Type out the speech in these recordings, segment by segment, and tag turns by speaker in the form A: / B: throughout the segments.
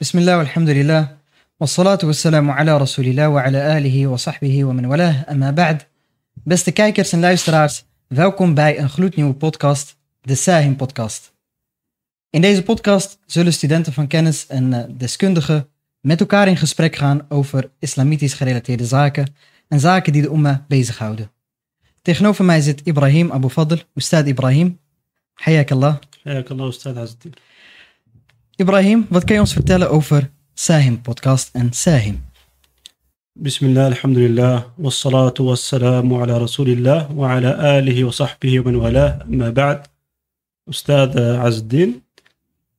A: بسم الله والحمد لله والصلاة والسلام على رسول الله وعلى آله وصحbihi wa man walah. Amma ba'd. Beste kijkers en luisteraars, welkom bij een gloednieuwe podcast, de Sahim Podcast. In deze podcast zullen studenten van kennis en eh, deskundigen met elkaar in gesprek gaan over islamitisch gerelateerde zaken en zaken die de umma bezighouden. Tegenover mij zit Ibrahim Abu Fadl, Ustad Ibrahim. Hayakallah.
B: حياك الله استاذ عز الدين
A: Ibrahim, wat kan je ons vertellen over Sahim Podcast en Sahim?
B: بسم الله الحمد لله والصلاة والسلام على رسول الله وعلى آله وصحبه ومن والاه أما بعد أستاذ عز الدين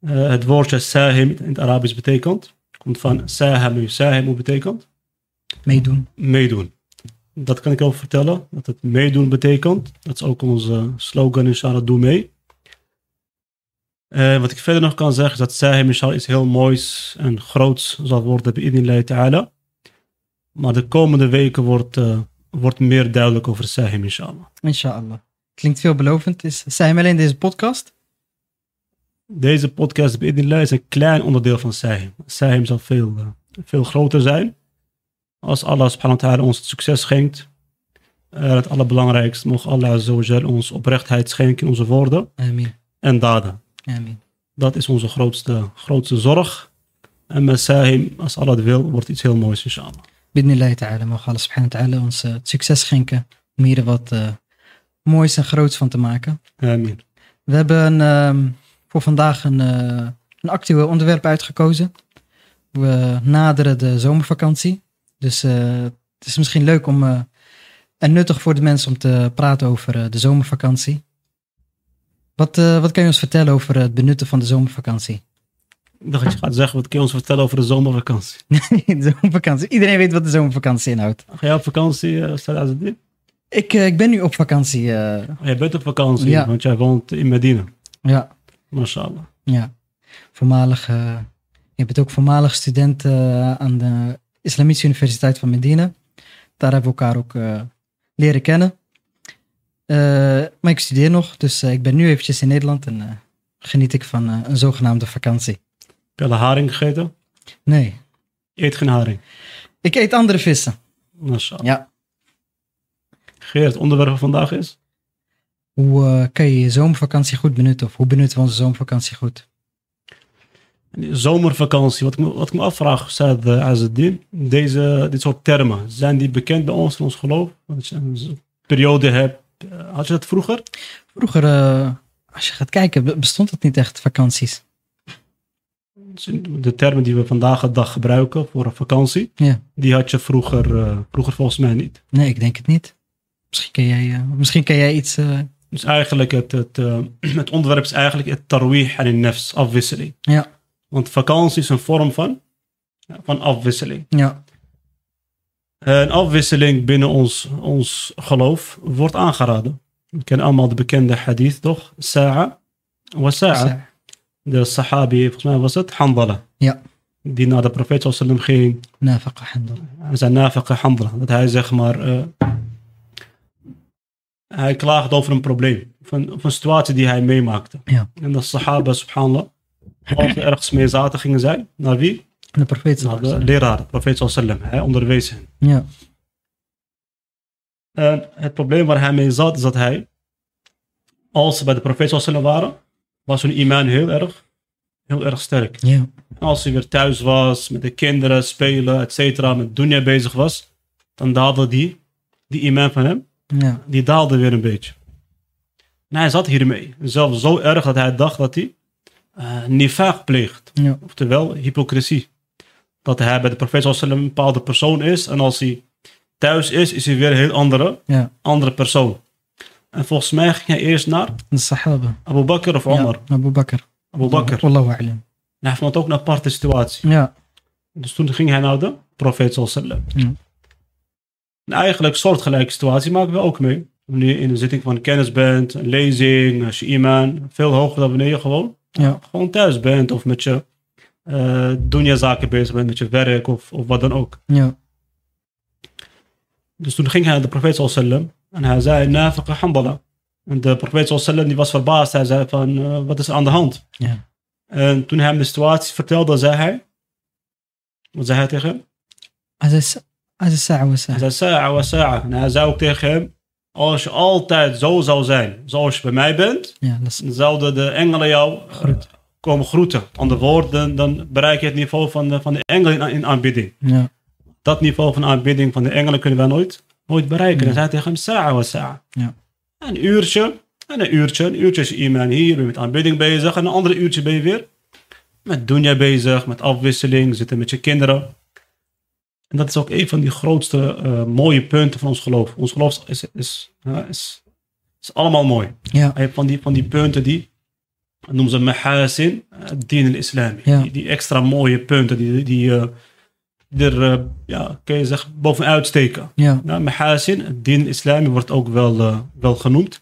B: Eh, het woordje sahim in het Arabisch betekent, komt van sahamu, sahimu betekent
A: Meedoen.
B: meedoen. Dat kan ik wel vertellen, dat het meedoen betekent. Dat is ook onze slogan, inshallah, doe mee. Eh, wat ik verder nog kan zeggen is dat Sahim inshallah iets heel moois en groots zal worden bij Idnillahi Ta'ala. Maar de komende weken wordt, eh, wordt meer duidelijk over Sahim inshallah.
A: Inshallah. Klinkt veelbelovend. Is Sahim alleen deze podcast?
B: Deze podcast bij Idnillahi is een klein onderdeel van Sahim. Sahim zal veel, eh, veel groter zijn. Als Allah subhanahu wa ta'ala ons het succes schenkt. Eh, het allerbelangrijkste, mogen Allah azza wa jal ons oprechtheid schenken in onze woorden
A: Amin.
B: en daden.
A: Amin.
B: Dat is onze grootste, grootste zorg. En met Sahim, als Allah het wil, wordt iets heel moois inshallah.
A: Bidnillahi ta'ala. Mogen Allah subhanahu wa ta'ala ons eh, het succes schenken om hier wat eh, moois en groots van te maken.
B: Amen.
A: We hebben ehm, voor vandaag een, eh, een actueel onderwerp uitgekozen. We naderen de zomervakantie. Dus eh, het is misschien leuk om eh, en nuttig voor de mensen om te praten over eh, de zomervakantie. Wat, eh, wat kan je ons vertellen over het benutten van de zomervakantie?
B: Ik dacht dat je gaat zeggen, wat kun je ons vertellen over de zomervakantie?
A: de zomervakantie. Iedereen weet wat de zomervakantie inhoudt.
B: Ga jij op vakantie, eh, Ustad Azzedin?
A: Ik, eh, ik ben nu op vakantie. eh,
B: Jij bent op vakantie,
A: Ja.
B: want jij woont in Medina.
A: ja.
B: MashaAllah.
A: Ja, voormalig. eh, je bent ook voormalig student eh, aan de Islamitische Universiteit van Medina. Daar hebben we elkaar ook eh, leren kennen. Eh, maar ik studeer nog, dus eh, ik ben nu eventjes in Nederland en eh, geniet ik van eh, een zogenaamde vakantie.
B: Heb je al haring gegeten?
A: Nee,
B: Eet geen haring.
A: ik eet andere vissen.
B: MashaAllah.
A: Ja.
B: Geert, het onderwerp van vandaag is?
A: Hoe eh, kan je je zomervakantie goed benutten? Of hoe benutten we onze zomervakantie goed?
B: Die Zomervakantie. Wat ik me, wat ik me afvraag, Ustad eh, Azzedin, deze, dit soort termen, zijn die bekend bij ons in ons geloof? Dat je een periode hebt. eh, Had je dat vroeger?
A: Vroeger, eh, als je gaat kijken, be- bestond het niet echt vakanties.
B: de termen die we vandaag de dag gebruiken voor een vakantie,
A: Ja.
B: die had je vroeger, eh, vroeger volgens mij niet.
A: Nee, ik denk het niet. Misschien kan jij, eh, misschien kan jij iets eh,
B: Dus eigenlijk het, het, eh, het onderwerp is eigenlijk het tarwih en het nefs, afwisseling.
A: Ja.
B: Want vakantie is een vorm van, van afwisseling.
A: Ja,
B: Eh, Een afwisseling binnen ons, ons geloof wordt aangeraden. We kennen allemaal de bekende hadith, toch? Sa'a wa sa'a.
A: sa-
B: De sahabi, volgens mij was het, Handala.
A: Ja.
B: Die naar de profeet sallallahu alaihi wasallam ging
A: nafaqa handel.
B: aan zijn nafiqa handelen. Dat hij zeg maar. eh, hij klaagt over een probleem. Of een, of een situatie die hij meemaakte.
A: Ja.
B: En de Sahaba, subhanallah. Als ze ergens mee zaten, gingen zij naar wie?
A: De profeet
B: Naar
A: sallallahu
B: Nou, de
A: alaihi
B: leraar, de profeet sallam. Hij onderwees hen.
A: wasallam.
B: En het probleem waar hij mee zat, is dat hij. Als ze bij de profeet sallam waren, was hun iman heel erg, heel erg sterk.
A: Ja, ja,
B: Als hij weer thuis was, met de kinderen spelen, et cetera, met dunya bezig was, dan daalde die, die iman van hem,
A: ja.
B: die daalde weer een beetje. En hij zat hiermee. Zelfs zo erg dat hij dacht dat hij eh nifaq pleegt.
A: Ja.
B: Oftewel hypocrisie. Dat hij bij de profeet sallallahu alaihi wasallam een bepaalde persoon is. En als hij thuis is, is hij weer een heel andere,
A: Ja.
B: andere persoon. En volgens mij ging hij eerst naar
A: De sahaba.
B: Abu Bakr of
A: Ja,
B: Omar.
A: Abu Bakr.
B: Abu Bakr.
A: Wallahu a'lam.
B: En hij vond het ook een aparte situatie.
A: Ja,
B: Dus toen ging hij naar de profeet sallallahu
A: Ja.
B: En eigenlijk soortgelijke situatie maken we ook mee. Wanneer je in een zitting van kennis bent, een lezing, als je iemand veel hoger dan wanneer je gewoon,
A: Ja.
B: gewoon thuis bent of met je eh doen je zaken bezig bent, met je werk of, of wat dan ook.
A: ja,
B: Dus toen ging hij naar de profeet sallallahu en hij zei nafiqa handala. En de profeet sallallahu die was verbaasd. Hij zei van eh, wat is er aan de hand?
A: Ja.
B: En toen hij hem de situatie vertelde, zei hij وزهات يا خيم
A: Hij zei, hij zei ساعة وساعة.
B: Dat is Sarah was Sarah. En hij zei ook tegen hem, als je altijd zo zou zijn, zoals je bij mij bent,
A: Ja, dat is
B: dan zouden de engelen jou eh,
A: Groeten.
B: komen groeten. Andere woorden, dan bereik je het niveau van de, van de engelen in, in aanbidding.
A: ja.
B: Dat niveau van aanbidding van de engelen kunnen wij nooit, nooit bereiken.
A: Ja.
B: Dan zei hij tegen hem, Sarah was Sarah.
A: Ja.
B: Een uurtje, en een uurtje, een uurtje is iemand hier, ben je met aanbidding bezig. En een ander uurtje ben je weer met dunja bezig, met afwisseling, zitten met je kinderen. En dat is ook een van die grootste eh, mooie punten van ons geloof. Ons geloof is, is, eh, is, is allemaal mooi.
A: Ja.
B: Hij heeft Eh, van die, van die punten die, noemen ze mahasin, het dien al-islami.
A: Ja.
B: Die, die extra mooie punten die, die eh, die er, eh, ja, kun je zeggen, bovenuit steken.
A: ja.
B: Nou, mahasin, het dien al-islami wordt ook wel, eh, wel genoemd.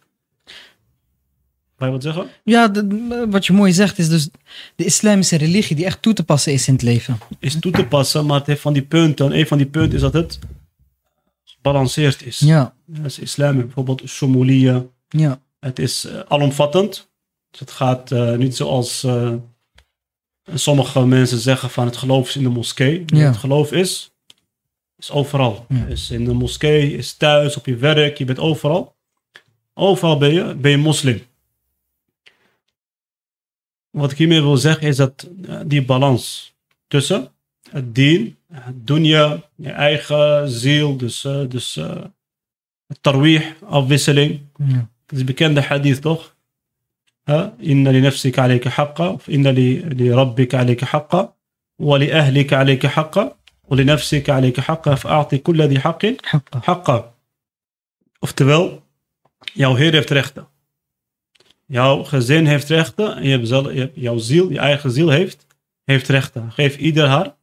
B: Wil je wat zeggen?
A: Ja, de- wat je mooi zegt is dus de islamische religie die echt toe te passen is in het leven.
B: Is toe te passen, maar het heeft van die punten. En een van die punten is dat het gebalanceerd is.
A: Ja,
B: Dat is islam, bijvoorbeeld Shomoliya.
A: ja,
B: Het is eh, alomvattend. Dus het gaat eh, niet zoals eh, sommige mensen zeggen van het geloof is in de moskee. Nee,
A: Ja.
B: Het geloof is, is overal.
A: Ja.
B: Is in de moskee, is thuis, op je werk, je bent overal. Overal ben je, ben je moslim. Wat ik hiermee wil zeggen is dat eh, die balans tussen het dien, het dunya, je eigen ziel, dus, eh, dus eh, het tarwih, afwisseling.
A: ja.
B: Het is bekende hadith toch? Huh? Inna li nafsika alayka haqqa, of inna li, li rabbika alayka haqqa, wa li ahlika alayka haqqa, wa li nafsika alayka haqqa, fa'ati kulla di haqqin
A: Hakka.
B: haqqa. Oftewel, jouw Heer heeft rechten. Jouw gezin heeft rechten en je hebt zelf- je hebt- jouw ziel, je eigen ziel heeft, heeft rechten. Geef ieder haar,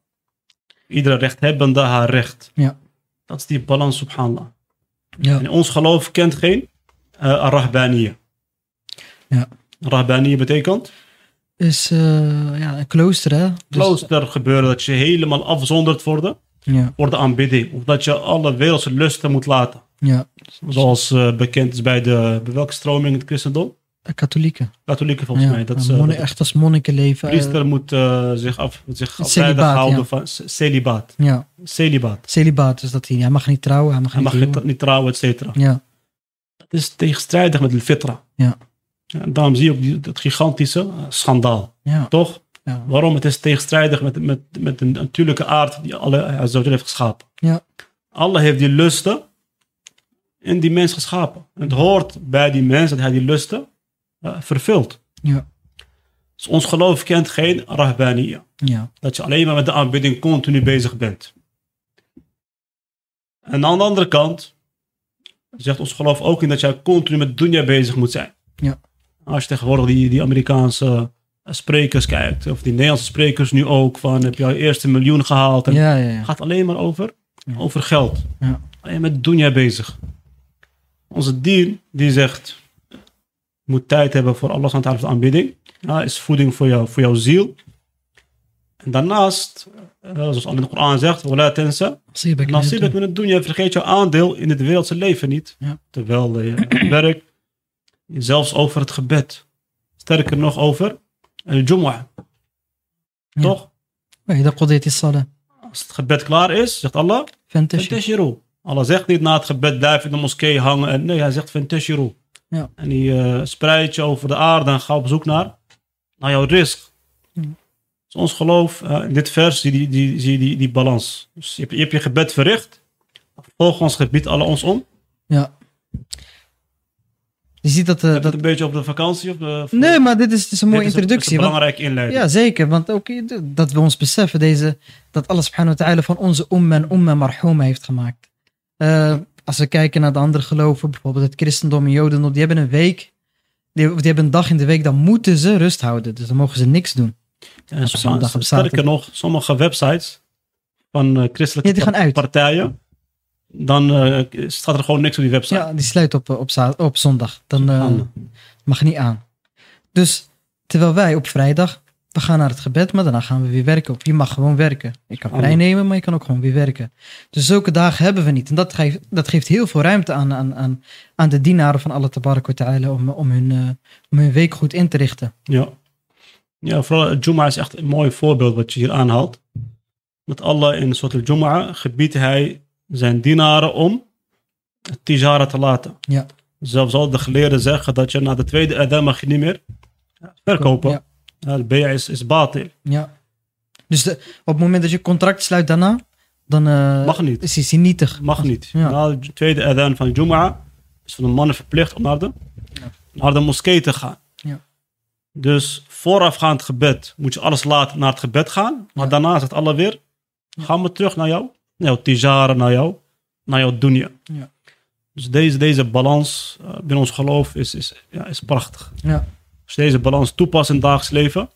B: iedere rechthebbende haar recht.
A: Ja.
B: Dat is die balans, subhanallah.
A: Ja,
B: En ons geloof kent geen uh, rahbaniya.
A: Ja. Dus-
B: Rahbaniya betekent
A: is eh, ja, een klooster hè? Dus-
B: klooster gebeuren, dat je helemaal afzonderd wordt
A: Ja,
B: voor de aanbidding. Of dat je alle wereldse lusten moet laten.
A: ja.
B: Zoals eh, bekend is bij de, bij welke stroming in het christendom?
A: Eh, Katholieken.
B: Katholieken volgens
A: ja.
B: mij. Dat
A: een
B: ze,
A: monnik-
B: dat de
A: echt als monniken leven. eh,
B: priester moet eh, zich, af, zich
A: Celibaat,
B: afzijdig houden
A: ja.
B: van c- celibaat.
A: eh, ja,
B: Celibaat.
A: celibaat is dat hij. Hij mag niet trouwen, hij mag
B: Hij
A: niet
B: mag niet,
A: huwen.
B: niet trouwen, et cetera.
A: Ja,
B: Het is tegenstrijdig met de fitra.
A: Ja.
B: En daarom zie je ook die, dat gigantische eh, schandaal.
A: ja,
B: Toch?
A: ja.
B: Waarom? Het is tegenstrijdig met, met, met de natuurlijke aard die eh, Allah Azzawajal heeft geschapen.
A: Ja.
B: Allah heeft die lusten in die mens geschapen. En het hoort bij die mens dat hij die lusten eh, vervult.
A: Ja.
B: Dus ons geloof kent geen rahbaniya.
A: ja.
B: Dat je alleen maar met de aanbidding continu bezig bent. En aan de andere kant zegt ons geloof ook in dat jij continu met dunya bezig moet zijn.
A: Ja.
B: Als je tegenwoordig die, die Amerikaanse sprekers kijkt, of die Nederlandse sprekers nu ook, van heb je al eerst een miljoen gehaald. En
A: ja, ja,
B: Het
A: ja.
B: gaat alleen maar over, over geld.
A: Ja.
B: Alleen met dunya bezig. Onze dien die zegt, je moet tijd hebben voor Allah subhanahu wa ta'ala voor de aanbidding. Ja, is voeding voor, jou, voor jouw ziel. En daarnaast, eh, zoals Allah in de Koran zegt, وَلَا تَنْسَ
A: Nasibek in het
B: Nasibak
A: doen.
B: min dunya, vergeet jouw aandeel in het wereldse leven niet.
A: Ja.
B: Terwijl eh, je werk, zelfs over het gebed. Sterker nog over de Jumu'ah.
A: Ja.
B: Toch?
A: Ja, dat قضيت الصلاة.
B: Als het gebed klaar is, zegt Allah,
A: Fantastisch.
B: Fantashiru. Allah zegt niet na het gebed blijf in de moskee hangen. En nee, hij zegt Fantashiru.
A: Ja.
B: En die eh, spreidt je over de aarde en ga op zoek naar, naar jouw risk.
A: Ja.
B: Dus ons geloof, eh, in dit vers zie je die, die, zie je die, die balans. Dus je hebt, je hebt je gebed verricht. Vervolgens gebiedt Allah ons
A: Eh,
B: om.
A: Ja. Je ziet dat, eh,
B: Dat
A: dat...
B: een beetje op de vakantie? Op de,
A: Nee, maar dit is, dit is een
B: Dit
A: mooie
B: is
A: introductie.
B: Een,
A: want-
B: belangrijke inleiding.
A: Ja, zeker. Want ook dat we ons beseffen deze, dat Allah subhanahu wa ta'ala van onze umma en umma marhuma heeft gemaakt. Eh, als we kijken naar de andere geloven, bijvoorbeeld het christendom en jodendom, die hebben een week, die, of die hebben een dag in de week, dan moeten ze rust houden. Dus dan mogen ze niks doen.
B: En
A: Op zondag, op
B: sterker
A: zaterdag.
B: nog, sommige websites van eh, christelijke
A: Ja, die gaan
B: par-
A: uit.
B: partijen, dan eh, staat er gewoon niks op die website.
A: Ja, die sluit op, eh, op, za- op zondag. Dan eh,
B: Subhanallah.
A: mag niet aan. Dus terwijl wij op vrijdag, we gaan naar het gebed, maar daarna gaan we weer werken. Of je mag gewoon werken. Je kan vrij
B: Amen.
A: nemen, maar je kan ook gewoon weer werken. Dus zulke dagen hebben we niet. En dat geeft, dat geeft heel veel ruimte aan, aan, aan, aan de dienaren van Allah tabarak wa ta'ala om, om, hun, eh, om hun week goed in te richten.
B: eh, Ja. Ja, vooral Juma is echt een mooi voorbeeld wat je hier aanhaalt. dat Allah in Surah al-Jumu'ah gebiedt hij zijn dienaren om het tijara te laten.
A: Ja.
B: Zelfs al de geleerden zeggen dat je na de tweede adem mag je niet meer verkopen.
A: Ja.
B: Ja, de bij is, is batil.
A: Ja. Dus de- op het moment dat je contract sluit daarna, dan eh,
B: Mag niet.
A: is hij nietig.
B: Mag niet.
A: Ja.
B: Na de tweede adhan van Jumu'ah is van de mannen verplicht om naar de, naar de moskee te gaan.
A: Ja.
B: Dus voorafgaand gebed moet je alles laten naar het gebed gaan. Maar
A: Ja.
B: daarna zegt Allah weer, gaan we terug naar jou. Naar jouw tijara, naar jou. Naar jouw dunya.
A: Ja.
B: Dus deze, deze balans eh, binnen ons geloof is, is, ja, is prachtig.
A: Ja.
B: Als je deze balans toepast in het dagelijks leven.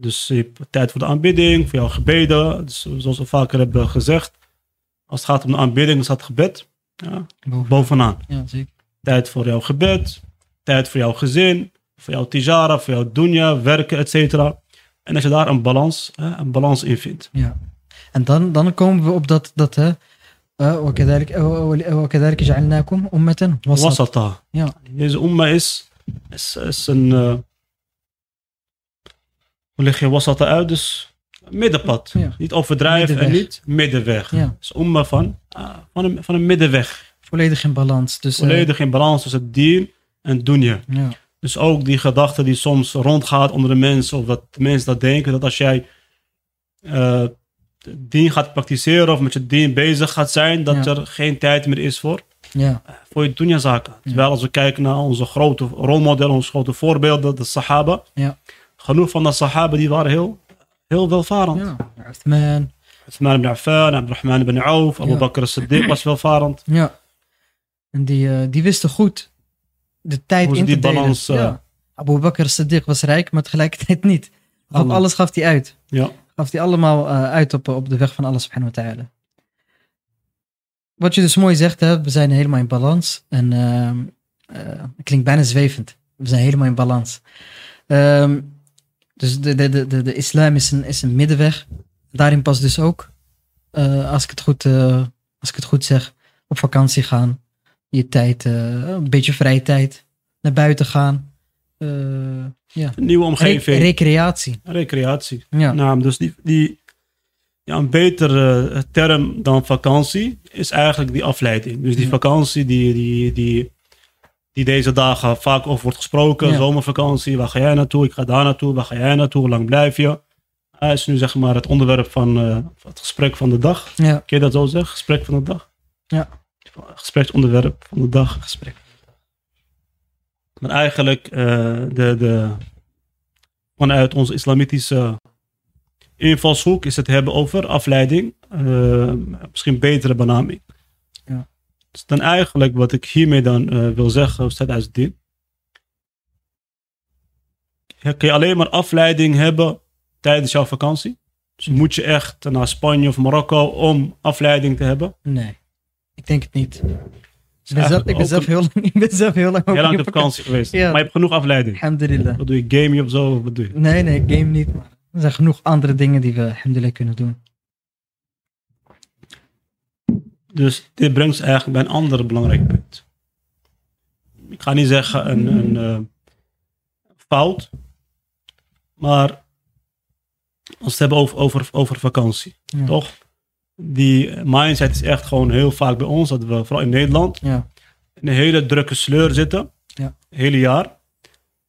B: Dus je hebt tijd voor de aanbidding, voor jouw gebeden. Dus zoals we vaker hebben gezegd. Als het gaat om de aanbidding, dan staat het gebed ja,
A: Boven.
B: bovenaan.
A: Ja, zeker.
B: Tijd voor jouw gebed, tijd voor jouw gezin, voor jouw tijara, voor jouw dunya, werken, et cetera. En als je daar een balans, hè, een balans in vindt.
A: Ja. En dan, dan komen we op dat, dat hè, eh, وكذلك eh, وكذلك جعلناكم أمة وسط.
B: Wasata.
A: Ja.
B: Deze umma is, is, is een... eh, hoe leg je wasata uit? Dus middenpad.
A: Ja.
B: Niet overdrijven en
A: Middenweg.
B: niet middenweg.
A: Ja.
B: Dus umma van, ah, van, een, van een middenweg.
A: Volledig in balans. Dus, eh,
B: Volledig in balans tussen dien en dunya.
A: ja.
B: Dus ook die gedachte die soms rondgaat onder de mensen, of dat de mensen dat denken, dat als jij eh dien gaat praktiseren of met je dien bezig gaat zijn, dat
A: Ja.
B: er geen tijd meer is voor,
A: Ja.
B: voor je dunya-zaken. Terwijl als we kijken naar onze grote rolmodellen, onze grote voorbeelden, de Sahaba,
A: Ja.
B: genoeg van de Sahaba die waren heel, heel welvarend.
A: ja. Uthman.
B: Uthman ibn Affan, Abdurrahman ibn Auf, Abu
A: Ja.
B: Bakr as-Siddiq was welvarend.
A: Ja. En die, eh, die wisten goed de tijd
B: Hoe ze
A: in te
B: die
A: delen.
B: balans, eh,
A: ja. Abu Bakr Siddiq was rijk, maar tegelijkertijd niet. Gaf
B: Allah.
A: alles gaf hij uit.
B: Ja.
A: Gaf hij allemaal eh, uit op, op de weg van Allah subhanahu wa ta'ala. Wat je dus mooi zegt, hè, we zijn helemaal in balans. En ehm, eh, het klinkt bijna zwevend. We zijn helemaal in balans. Ehm, dus de, de, de, de, de islam is een, is een middenweg. Daarin past dus ook, eh, als, ik het goed, eh, als ik het goed zeg, op vakantie gaan. Je tijd, eh, een beetje vrije tijd. Naar buiten gaan. eh,
B: Een nieuwe
A: re-
B: omgeving,
A: recreatie.
B: recreatie.
A: Ja.
B: Nou, dus die, die, ja, een betere eh, term dan vakantie is eigenlijk die afleiding. Dus die
A: Ja.
B: vakantie die, die, die, die deze dagen vaak over wordt gesproken.
A: Ja.
B: Zomervakantie, waar ga jij naartoe? Ik ga daar naartoe. Waar ga jij naartoe? Hoe lang blijf je? Hij is nu zeg maar het onderwerp van eh, het gesprek van de dag.
A: ja.
B: Kun je dat zo zeggen? Gesprek van de dag?
A: Ja.
B: Gespreksonderwerp van de dag.
A: Gesprek.
B: Maar eigenlijk eh, de, de, vanuit onze islamitische invalshoek is het hebben over afleiding. eh, misschien betere benaming.
A: Ja.
B: Dus dan eigenlijk wat ik hiermee dan eh, wil zeggen, staat uit dit. Kun je alleen maar afleiding hebben tijdens jouw vakantie? Dus moet je echt naar Spanje of Marokko om afleiding te hebben?
A: Nee, ik denk het niet. Ik ben,
B: eigenlijk
A: zelf, ik ben
B: ook
A: zelf
B: een-
A: heel lang, ik ben zelf heel lang,
B: Heel lang op
A: op
B: vakantie geweest.
A: Ja.
B: Maar je hebt genoeg afleiding.
A: Alhamdulillah.
B: Wat doe je? Game je of zo? Wat doe je?
A: Nee, nee, game niet. Maar er zijn genoeg andere dingen die we alhamdulillah kunnen doen.
B: Dus dit brengt ons eigenlijk bij een ander belangrijk punt. Ik ga niet zeggen een, een eh, fout, maar als we het hebben over, over, over vakantie,
A: Ja.
B: toch? Die mindset is echt gewoon heel vaak bij ons, dat we vooral in Nederland
A: Ja,
B: in een hele drukke sleur zitten,
A: Ja.
B: hele jaar.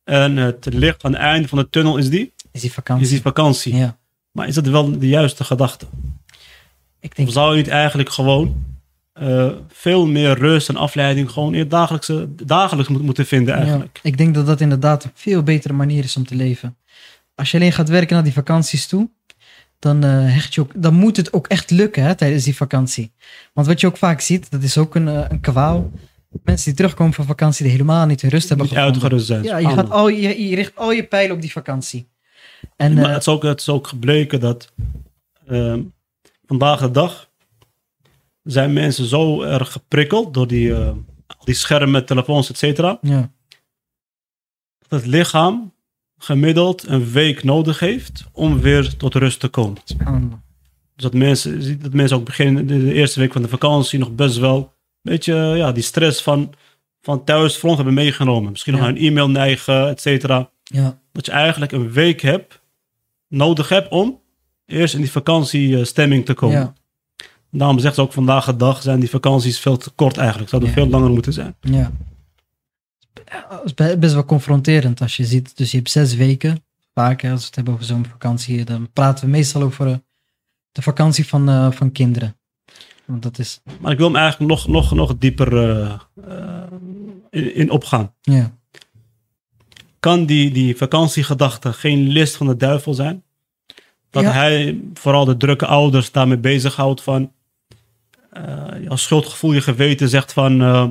B: En het licht aan het einde van de tunnel is die,
A: is die
B: is
A: vakantie.
B: die vakantie.
A: Ja,
B: Maar is dat wel de juiste gedachte?
A: ik denk
B: Of zou je niet eigenlijk gewoon eh, veel meer rust en afleiding gewoon in het dagelijkse, dagelijks moet, moeten vinden
A: ja,
B: eigenlijk?
A: ik denk dat dat inderdaad een veel betere manier is om te leven. Als je alleen gaat werken naar die vakanties toe, dan, eh, hecht je ook, dan moet het ook echt lukken hè, tijdens die vakantie. Want wat je ook vaak ziet, dat is ook een, eh, een kwaal. Mensen die terugkomen van vakantie die helemaal niet hun rust hebben
B: Niet
A: gevonden.
B: uitgerust zijn.
A: Ja, je, gaat al, je, je richt al je pijlen op die vakantie. En
B: maar
A: eh,
B: het, is ook, het is ook gebleken dat ehm, vandaag de dag zijn mensen zo erg geprikkeld door die, eh, al die schermen, telefoons, et cetera,
A: eh, ja,
B: dat het lichaam gemiddeld een week nodig heeft om weer tot rust te komen.
A: subhanallah.
B: Dus dat mensen, je ziet dat mensen ook beginnen de, de eerste week van de vakantie nog best wel een beetje eh, ja, die stress van, van thuisfront hebben meegenomen. Misschien nog
A: Ja.
B: een e-mail neigen, et cetera.
A: ja,
B: Dat je eigenlijk een week hebt, nodig hebt om eerst in die vakantiestemming te komen.
A: Ja,
B: Daarom zegt ze ook vandaag de dag zijn die vakanties veel te kort eigenlijk. Zouden
A: Ja.
B: veel langer moeten zijn.
A: ja. Het is be- best wel confronterend als je ziet. Dus je hebt zes weken. Vaak, hè, als we het hebben over zomervakantie, dan praten we meestal over eh, de vakantie van, eh, van kinderen. Want dat is,
B: Maar ik wil hem eigenlijk nog, nog, nog dieper eh, eh, in, in opgaan.
A: ja.
B: Kan die, die vakantiegedachte geen list van de duivel zijn? Dat
A: Ja.
B: hij vooral de drukke ouders daarmee bezighoudt van... eh, als schuldgevoel je geweten zegt van... eh,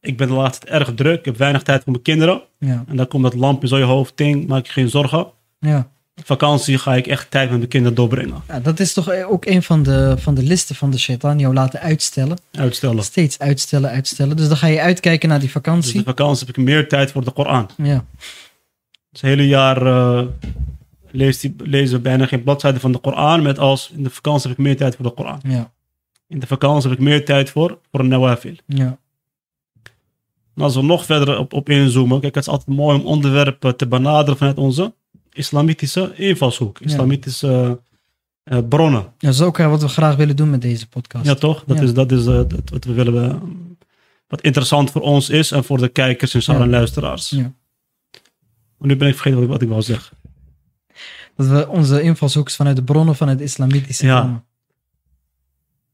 B: ik ben de laatste tijd erg druk, ik heb weinig tijd voor mijn kinderen.
A: Ja,
B: En dan komt dat lampje zo in je hoofd, ting, maak je geen zorgen.
A: ja.
B: Vakantie ga ik echt tijd met mijn kinderen doorbrengen.
A: ja dat is toch eh, ook een van de, van de listen van de shaitan. Jou laten uitstellen.
B: Uitstellen.
A: Steeds uitstellen, uitstellen. Dus dan ga je uitkijken naar die
B: Dus de
A: vakantie.
B: vakantie heb ik meer tijd voor de Koran.
A: Ja,
B: Dus het hele jaar eh, leest die, lezen we bijna geen bladzijden van de Koran. Met als in de vakantie heb ik meer tijd voor de Koran.
A: ja,
B: In de vakantie heb ik meer tijd voor, voor een nawafil.
A: ja.
B: En als we nog verder op, op inzoomen. Kijk, het is altijd mooi om onderwerpen te benaderen vanuit onze islamitische invalshoek. Islamitische eh, eh, bronnen.
A: Ja, Dat is ook eh, wat we graag willen doen met deze podcast.
B: Ja, toch? Dat
A: Ja.
B: is, dat is eh, dat wat we willen. eh, wat interessant voor ons is en voor de kijkers en
A: Ja.
B: en luisteraars.
A: Ja.
B: Maar nu ben ik vergeten wat ik, wat ik wou zeggen.
A: Dat we onze invalshoek vanuit de bronnen van het islamitische
B: Ja.
A: komen.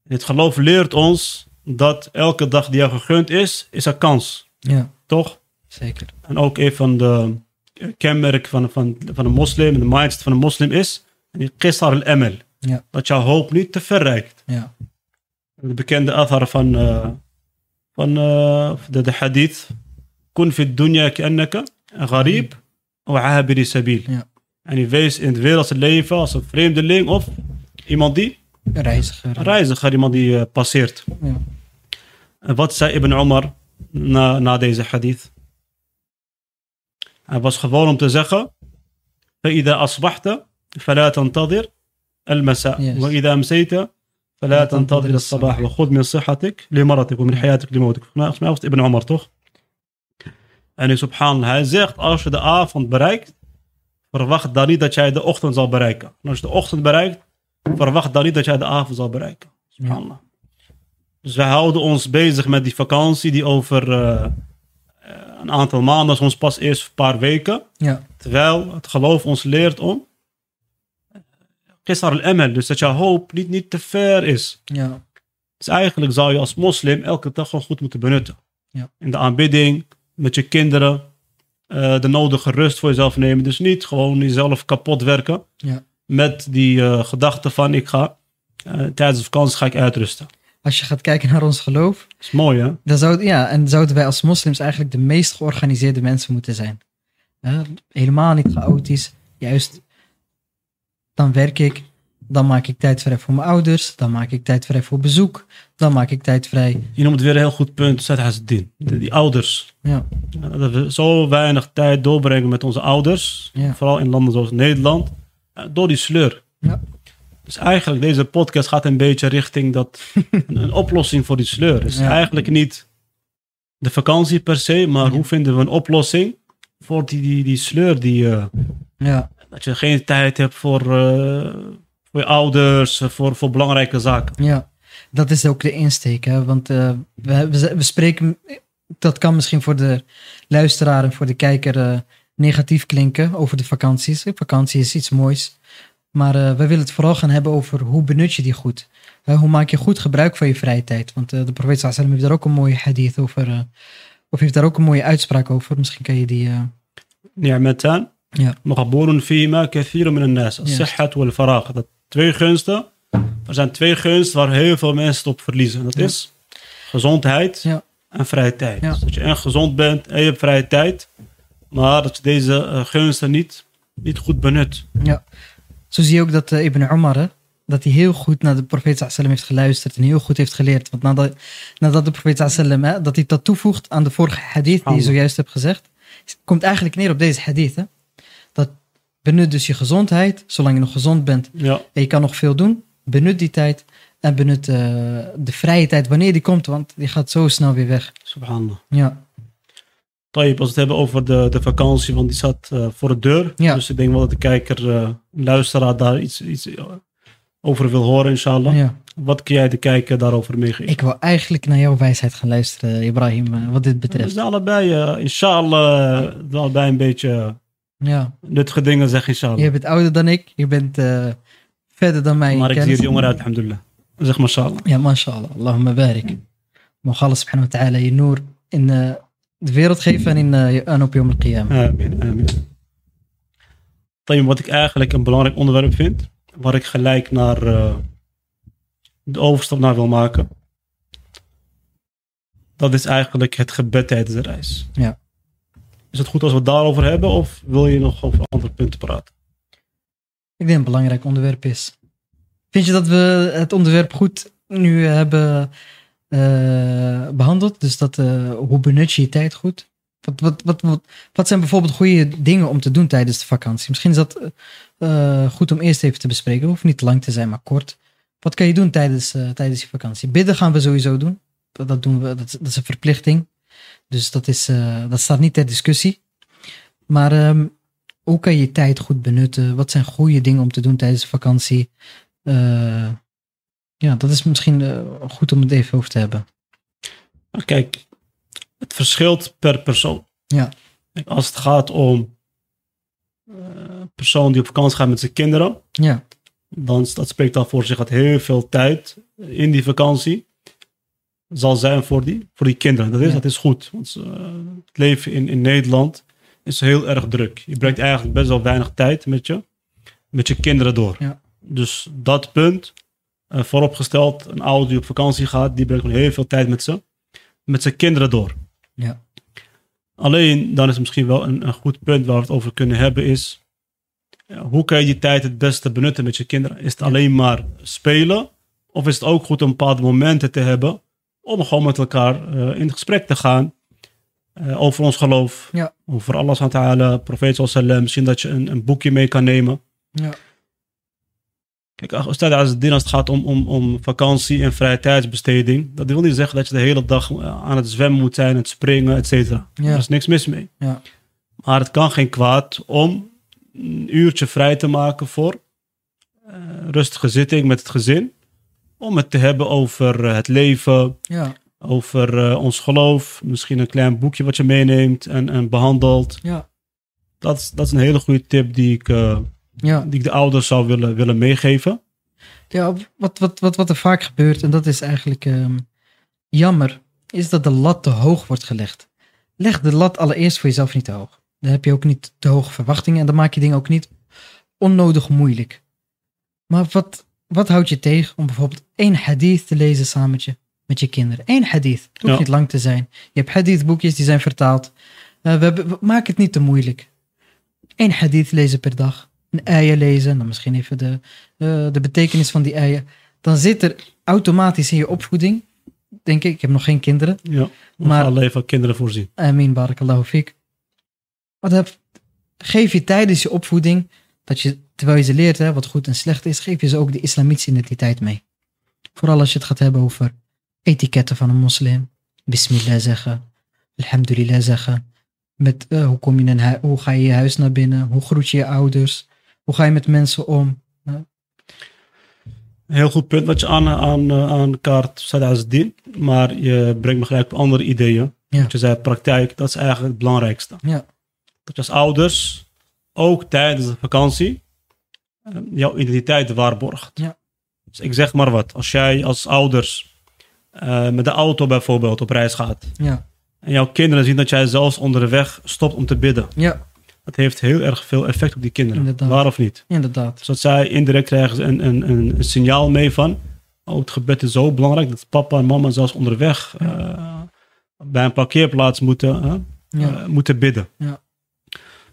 B: Het geloof leert ons dat elke dag die jou gegund is, is een kans.
A: Ja,
B: Toch?
A: zeker.
B: En ook een van de eh, kenmerken van, van, van een moslim, de mindset van een moslim is, die qisar al-emel.
A: Ja.
B: Dat jouw hoop niet te ver reikt.
A: Ja,
B: De bekende athar van, eh, van eh, de, de hadith. Kun fi dunya ka'annaka gharib wa abiri sabil.
A: Ja.
B: En je wees in het wereldse leven als een vreemdeling of iemand die
A: een reiziger.
B: een reiziger, iemand die eh, passeert.
A: Ja.
B: En wat zei Ibn Omar na, na deze hadith? Hij was gewoon om te zeggen: فإذا أصبحت فلا تنتظر المساء
A: Yes.
B: وإذا أمسيت فلا تنتظر الصباح وخذ من صحتك لمرضك ومن حياتك لموتك. Volgens mij was het Ibn Omar toch? En hij, subhanallah, hij zegt: Als je de avond bereikt, verwacht dan niet dat jij de ochtend zal bereiken. En als je de ochtend bereikt, verwacht dan niet dat jij de avond zal bereiken.
A: Ja.
B: Subhanallah. Dus we houden ons bezig met die vakantie die over eh, eh, een aantal maanden, soms pas eerst een paar weken.
A: Ja.
B: Terwijl het geloof ons leert om eh, Qisar al-Emel, dus dat jouw hoop niet, niet te ver is.
A: Ja.
B: Dus eigenlijk zou je als moslim elke dag gewoon goed moeten benutten.
A: Ja.
B: In de aanbidding, met je kinderen, eh, de nodige rust voor jezelf nemen. Dus niet gewoon jezelf kapot werken
A: Ja.
B: met die eh, gedachte van ik ga eh, tijdens de vakantie ga ik uitrusten.
A: Als je gaat kijken naar ons geloof,
B: Dat is mooi hè?
A: dan zou, ja, en zouden wij als moslims eigenlijk de meest georganiseerde mensen moeten zijn. Hè, helemaal niet chaotisch. Juist, dan werk ik, dan maak ik tijd vrij voor mijn ouders, dan maak ik tijd vrij voor bezoek, dan maak ik tijd vrij.
B: Je noemt weer een heel goed punt, Said Hazeddin. Die, die ouders.
A: Ja,
B: Ja, Dat we zo weinig tijd doorbrengen met onze ouders.
A: Ja.
B: Vooral in landen zoals Nederland. eh, Door die sleur.
A: Ja.
B: Dus eigenlijk, deze podcast gaat een beetje richting dat, een, een oplossing voor die sleur. Dus
A: Ja.
B: eigenlijk niet de vakantie per se, maar hoe vinden we een oplossing voor die, die, die sleur die, eh,
A: ja,
B: dat je geen tijd hebt voor, eh, voor je ouders, voor, voor belangrijke zaken.
A: ja. Dat is ook de insteek, hè? want eh, we, we, we spreken, dat kan misschien voor de luisteraar en voor de kijker eh, negatief klinken over de vakanties. Eh, Vakantie is iets moois, maar eh, wij willen het vooral gaan hebben over hoe benut je die goed. Hè, hoe maak je goed gebruik van je vrije tijd? Want eh, de profeet sallam heeft daar ook een mooie hadith over, eh, of heeft daar ook een mooie uitspraak over. Misschien kan je die... eh,
B: نعمتان
A: Ja.
B: مقبول فيهما كثير من الناس
A: Juist.
B: الصحة والفراغ dat twee gunsten er zijn twee gunsten waar heel veel mensen het op verliezen En dat
A: Ja.
B: is gezondheid
A: Ja.
B: en vrije tijd
A: Ja.
B: dus dat je en gezond bent en je hebt vrije tijd maar dat je deze eh, gunsten niet, niet goed benut
A: Ja. Zo zie je ook dat eh, Ibn Umar, hè, dat hij heel goed naar de profeet sallam heeft geluisterd en heel goed heeft geleerd. Want nadat, nadat de profeet sallam, hè, dat hij dat toevoegt aan de vorige hadith die je
B: Subhanallah.
A: zojuist hebt gezegd, komt eigenlijk neer op deze hadith. Hè? Dat benut dus je gezondheid, zolang je nog gezond bent
B: ja
A: en je kan nog veel doen, benut die tijd. En benut eh, de vrije tijd wanneer die komt, want die gaat zo snel weer weg.
B: subhanallah
A: Ja,
B: Tayyip, als we het hebben over de, de vakantie, want die zat eh, voor de deur.
A: Ja.
B: Dus ik denk wel dat de kijker, eh, luisteraar daar iets, iets eh, over wil horen, inshallah.
A: Ja.
B: Wat kun jij de kijker daarover meegeven?
A: Ik wil eigenlijk naar jouw wijsheid gaan luisteren, Ibrahim, eh, wat dit
B: We
A: betreft.
B: zijn allebei, eh, inshallah, eh, we allebei een beetje
A: Ja.
B: nuttige dingen zeggen, inshallah.
A: Je bent ouder dan ik, je bent eh, verder dan mij. in
B: maar ik zie
A: kennis.
B: er jonger uit, alhamdulillah. Zeg maar, inshallah.
A: Ja, mashallah. Allahumma barik. Mogen Allah subhanahu wa ta'ala je noer in eh, de wereld geven en, in, eh, en op Yom al-Qiyamah.
B: Amin, amin. Tayyip, wat ik eigenlijk een belangrijk onderwerp vind, waar ik gelijk naar eh, de overstap naar wil maken, dat is eigenlijk het gebed tijdens de reis.
A: Ja.
B: Is het goed als we het daarover hebben, of wil je nog over andere punten praten?
A: Ik denk dat het een belangrijk onderwerp is. Vind je dat we het onderwerp goed nu hebben eh, behandeld? Dus dat, eh, hoe benut je je tijd goed? Wat, wat, wat, wat, wat zijn bijvoorbeeld goede dingen om te doen tijdens de vakantie? Misschien is dat eh, eh, goed om eerst even te bespreken. Hoeft niet lang te zijn, maar kort. Wat kan je doen tijdens, eh, tijdens je vakantie? Bidden gaan we sowieso doen. Dat, dat doen we, dat, is- dat is een verplichting. Dus dat, is, eh, dat staat niet ter discussie. Maar ehm, hoe kan je je tijd goed benutten? Wat zijn goede dingen om te doen tijdens de vakantie? Eh, ja, dat is misschien eh, goed om het even over te hebben.
B: Nou, Kijk, het verschilt per persoon.
A: Ja.
B: Kijk, Als het gaat om eh, een persoon die op vakantie gaat met zijn kinderen,
A: Ja,
B: dan, dat spreekt al voor zich dat heel veel tijd in die vakantie zal zijn voor die, voor die kinderen. Dat is,
A: Ja.
B: dat is goed. Want eh, het leven in, in Nederland is heel erg druk. Je brengt eigenlijk best wel weinig tijd met je, met je kinderen door.
A: Ja.
B: Dus dat punt, eh, vooropgesteld, een ouder die op vakantie gaat, die brengt gewoon heel veel tijd met, ze, met zijn kinderen door.
A: Ja.
B: Alleen, dan is misschien wel een, een goed punt waar we het over kunnen hebben, is ja, hoe kan je die tijd het beste benutten met je kinderen? Is het alleen maar spelen? Of is het ook goed om bepaalde momenten te hebben om gewoon met elkaar eh, in gesprek te gaan eh, over ons geloof,
A: Ja.
B: over Allah subhanahu wa ta'ala, profeet sallallahu alaihi wasallam. misschien dat je een, een boekje mee kan nemen.
A: ja,
B: Kijk, als het- als het ding- als het gaat om, om, om vakantie en vrije tijdsbesteding, dat wil niet zeggen dat je de hele dag eh, aan het zwemmen moet zijn, het springen, et cetera.
A: Ja.
B: Daar is niks mis mee.
A: ja,
B: Maar het kan geen kwaad om een uurtje vrij te maken voor eh, rustige zitting met het gezin. Om het te hebben over eh, het leven,
A: ja,
B: over eh, ons geloof. Misschien een klein boekje wat je meeneemt en, en behandelt.
A: ja,
B: Dat is, dat is een hele goede tip die ik, eh,
A: ja.
B: die ik de ouders zou willen, willen meegeven.
A: Ja, wat, wat, wat, wat er vaak gebeurt, en dat is eigenlijk ehm, jammer, is dat de lat te hoog wordt gelegd. Leg de lat allereerst voor jezelf niet te hoog. Dan heb je ook niet te hoge verwachtingen en dan maak je dingen ook niet onnodig moeilijk. Maar wat, wat houdt je tegen om bijvoorbeeld één hadith te lezen samen met je, met je kinderen? Eén hadith. Het hoeft
B: Ja.
A: niet lang te zijn. Je hebt hadithboekjes die zijn vertaald. Eh, we hebben, we- maak het niet te moeilijk. Eén hadith lezen per dag. Een eier lezen. En dan misschien even de, eh, de betekenis van die eieren. Dan zit er automatisch in je opvoeding. Denk ik, ik heb nog geen kinderen.
B: Ja,
A: Maar-
B: maar alleen van kinderen voorzien.
A: Amin, barakallahu fiek. Wat heb, geef je tijdens je opvoeding, dat je, terwijl je ze leert hè, wat goed en slecht is, geef je ze ook de islamitische identiteit mee. Vooral als je het gaat hebben over etiketten van een moslim. Bismillah zeggen, alhamdulillah zeggen. Met eh, hoe, kom je in hu- hoe ga je je huis naar binnen? Hoe groet je je ouders? Hoe ga je met mensen om?
B: Een heel goed punt wat je aan, aan, eh, aan kaart zet als dien. Maar je brengt me gelijk op andere ideeën.
A: Ja.
B: Want je zei praktijk, dat is eigenlijk het belangrijkste.
A: Ja.
B: Dat je als ouders, ook tijdens de vakantie, eh, jouw identiteit waarborgt.
A: Ja.
B: Dus ik zeg maar wat. Als jij als ouders eh, met de auto bijvoorbeeld op reis gaat.
A: Ja,
B: En jouw kinderen zien dat jij zelfs onderweg stopt om te bidden.
A: ja
B: Dat heeft heel erg veel effect op die kinderen.
A: Inderdaad.
B: Waar of niet?
A: inderdaad.
B: Zodat zij indirect krijgen ze een, een, een, een signaal mee van. Oh, het gebed is zo belangrijk dat papa en mama zelfs onderweg eh, bij een parkeerplaats moeten, hè,
A: Ja,
B: eh, moeten bidden.
A: Ja.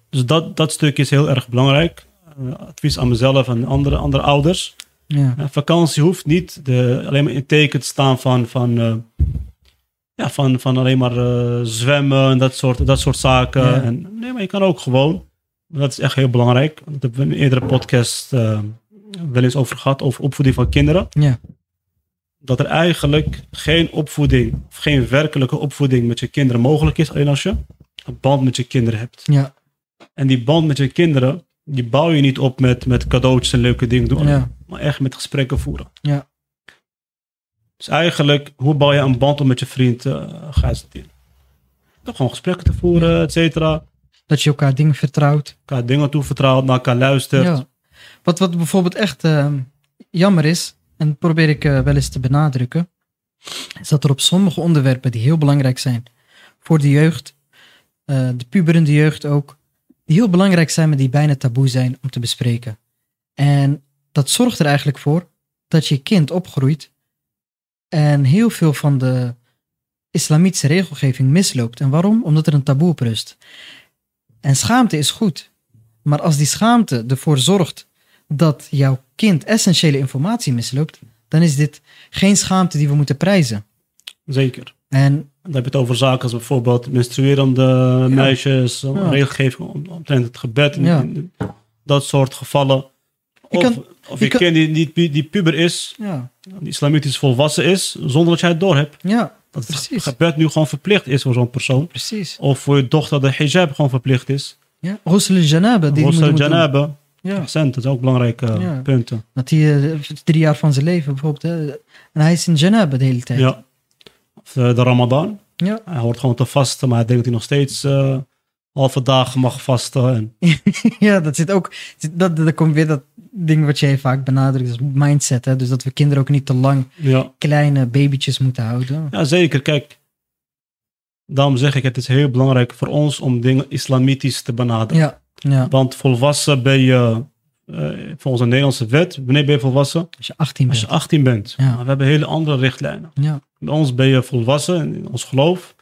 B: Dus dat, dat stuk is heel erg belangrijk. Eh, advies aan mezelf en andere, andere ouders.
A: ja,
B: Eh, vakantie hoeft niet de, alleen maar in het teken te staan van, van, eh, ja, van, van alleen maar eh, zwemmen en dat soort, dat soort zaken.
A: Ja.
B: En, nee, maar je kan ook gewoon. Dat is echt heel belangrijk. Dat hebben we in een eerdere podcast eh, wel eens over gehad, over opvoeding van kinderen.
A: ja,
B: Dat er eigenlijk geen opvoeding, of geen werkelijke opvoeding met je kinderen mogelijk is, alleen als je een band met je kinderen hebt.
A: ja,
B: En die band met je kinderen, die bouw je niet op met, met cadeautjes en leuke dingen doen.
A: ja,
B: maar echt met gesprekken voeren.
A: Ja.
B: Dus eigenlijk, hoe bouw je een band om met je vriend eh gaat te doen? Toch gewoon gesprekken te voeren, et cetera.
A: Dat je elkaar dingen vertrouwt.
B: Elkaar dingen toevertrouwt, naar elkaar luistert.
A: Ja. Wat, wat bijvoorbeeld echt ehm, jammer is, en dat probeer ik eh, wel eens te benadrukken, is dat er op sommige onderwerpen die heel belangrijk zijn voor de jeugd, eh, de puberende jeugd ook, die heel belangrijk zijn, maar die bijna taboe zijn om te bespreken. En dat zorgt er eigenlijk voor dat je kind opgroeit en heel veel van de islamitische regelgeving misloopt. En waarom? Omdat er een taboe op rust. En schaamte is goed. Maar als die schaamte ervoor zorgt dat jouw kind essentiële informatie misloopt, dan is dit geen schaamte die we moeten prijzen.
B: Zeker.
A: En
B: Dan heb je het over zaken als bijvoorbeeld menstruerende meisjes,
A: Ja.
B: regelgeving om- omtrent het gebed. en-
A: Ja.
B: en dat soort gevallen.
A: Je
B: Of,
A: kan-
B: of
A: je
B: je,
A: kan-
B: kind die, die, pu- die puber is,
A: ja,
B: die islamitisch volwassen is, zonder dat jij het doorhebt.
A: ja
B: Dat het
A: Precies.
B: gebed nu gewoon verplicht is voor zo'n persoon.
A: precies.
B: Of voor je dochter de hijab gewoon verplicht is.
A: Ja. Ghusl al-janaba. die
B: Ghusl
A: die moet- moet doen.
B: janaba.
A: Ja.
B: Accent, dat zijn ook belangrijke eh,
A: Ja.
B: punten.
A: Dat hij eh, drie jaar van zijn leven bijvoorbeeld. hè, en hij is in janaba de hele tijd.
B: Ja. Of eh, de Ramadan.
A: Ja.
B: Hij hoort gewoon te vasten, maar hij denkt dat hij nog steeds eh, halve dagen mag vasten. En,
A: Ja, dat zit ook. Dat, dat komt weer dat ding wat jij vaak benadrukt, dat is mindset. Hè? Dus dat we kinderen ook niet te lang
B: ja.
A: kleine babytjes moeten houden.
B: ja, zeker. Kijk, daarom zeg ik, het is heel belangrijk voor ons om dingen islamitisch te benaderen.
A: Ja, ja.
B: Want volwassen ben je, eh, volgens de Nederlandse wet, wanneer ben je volwassen?
A: Als je 18
B: Als je
A: bent.
B: 18 bent.
A: Ja.
B: Maar we hebben hele andere richtlijnen.
A: Ja,
B: Bij ons ben je volwassen in ons geloof.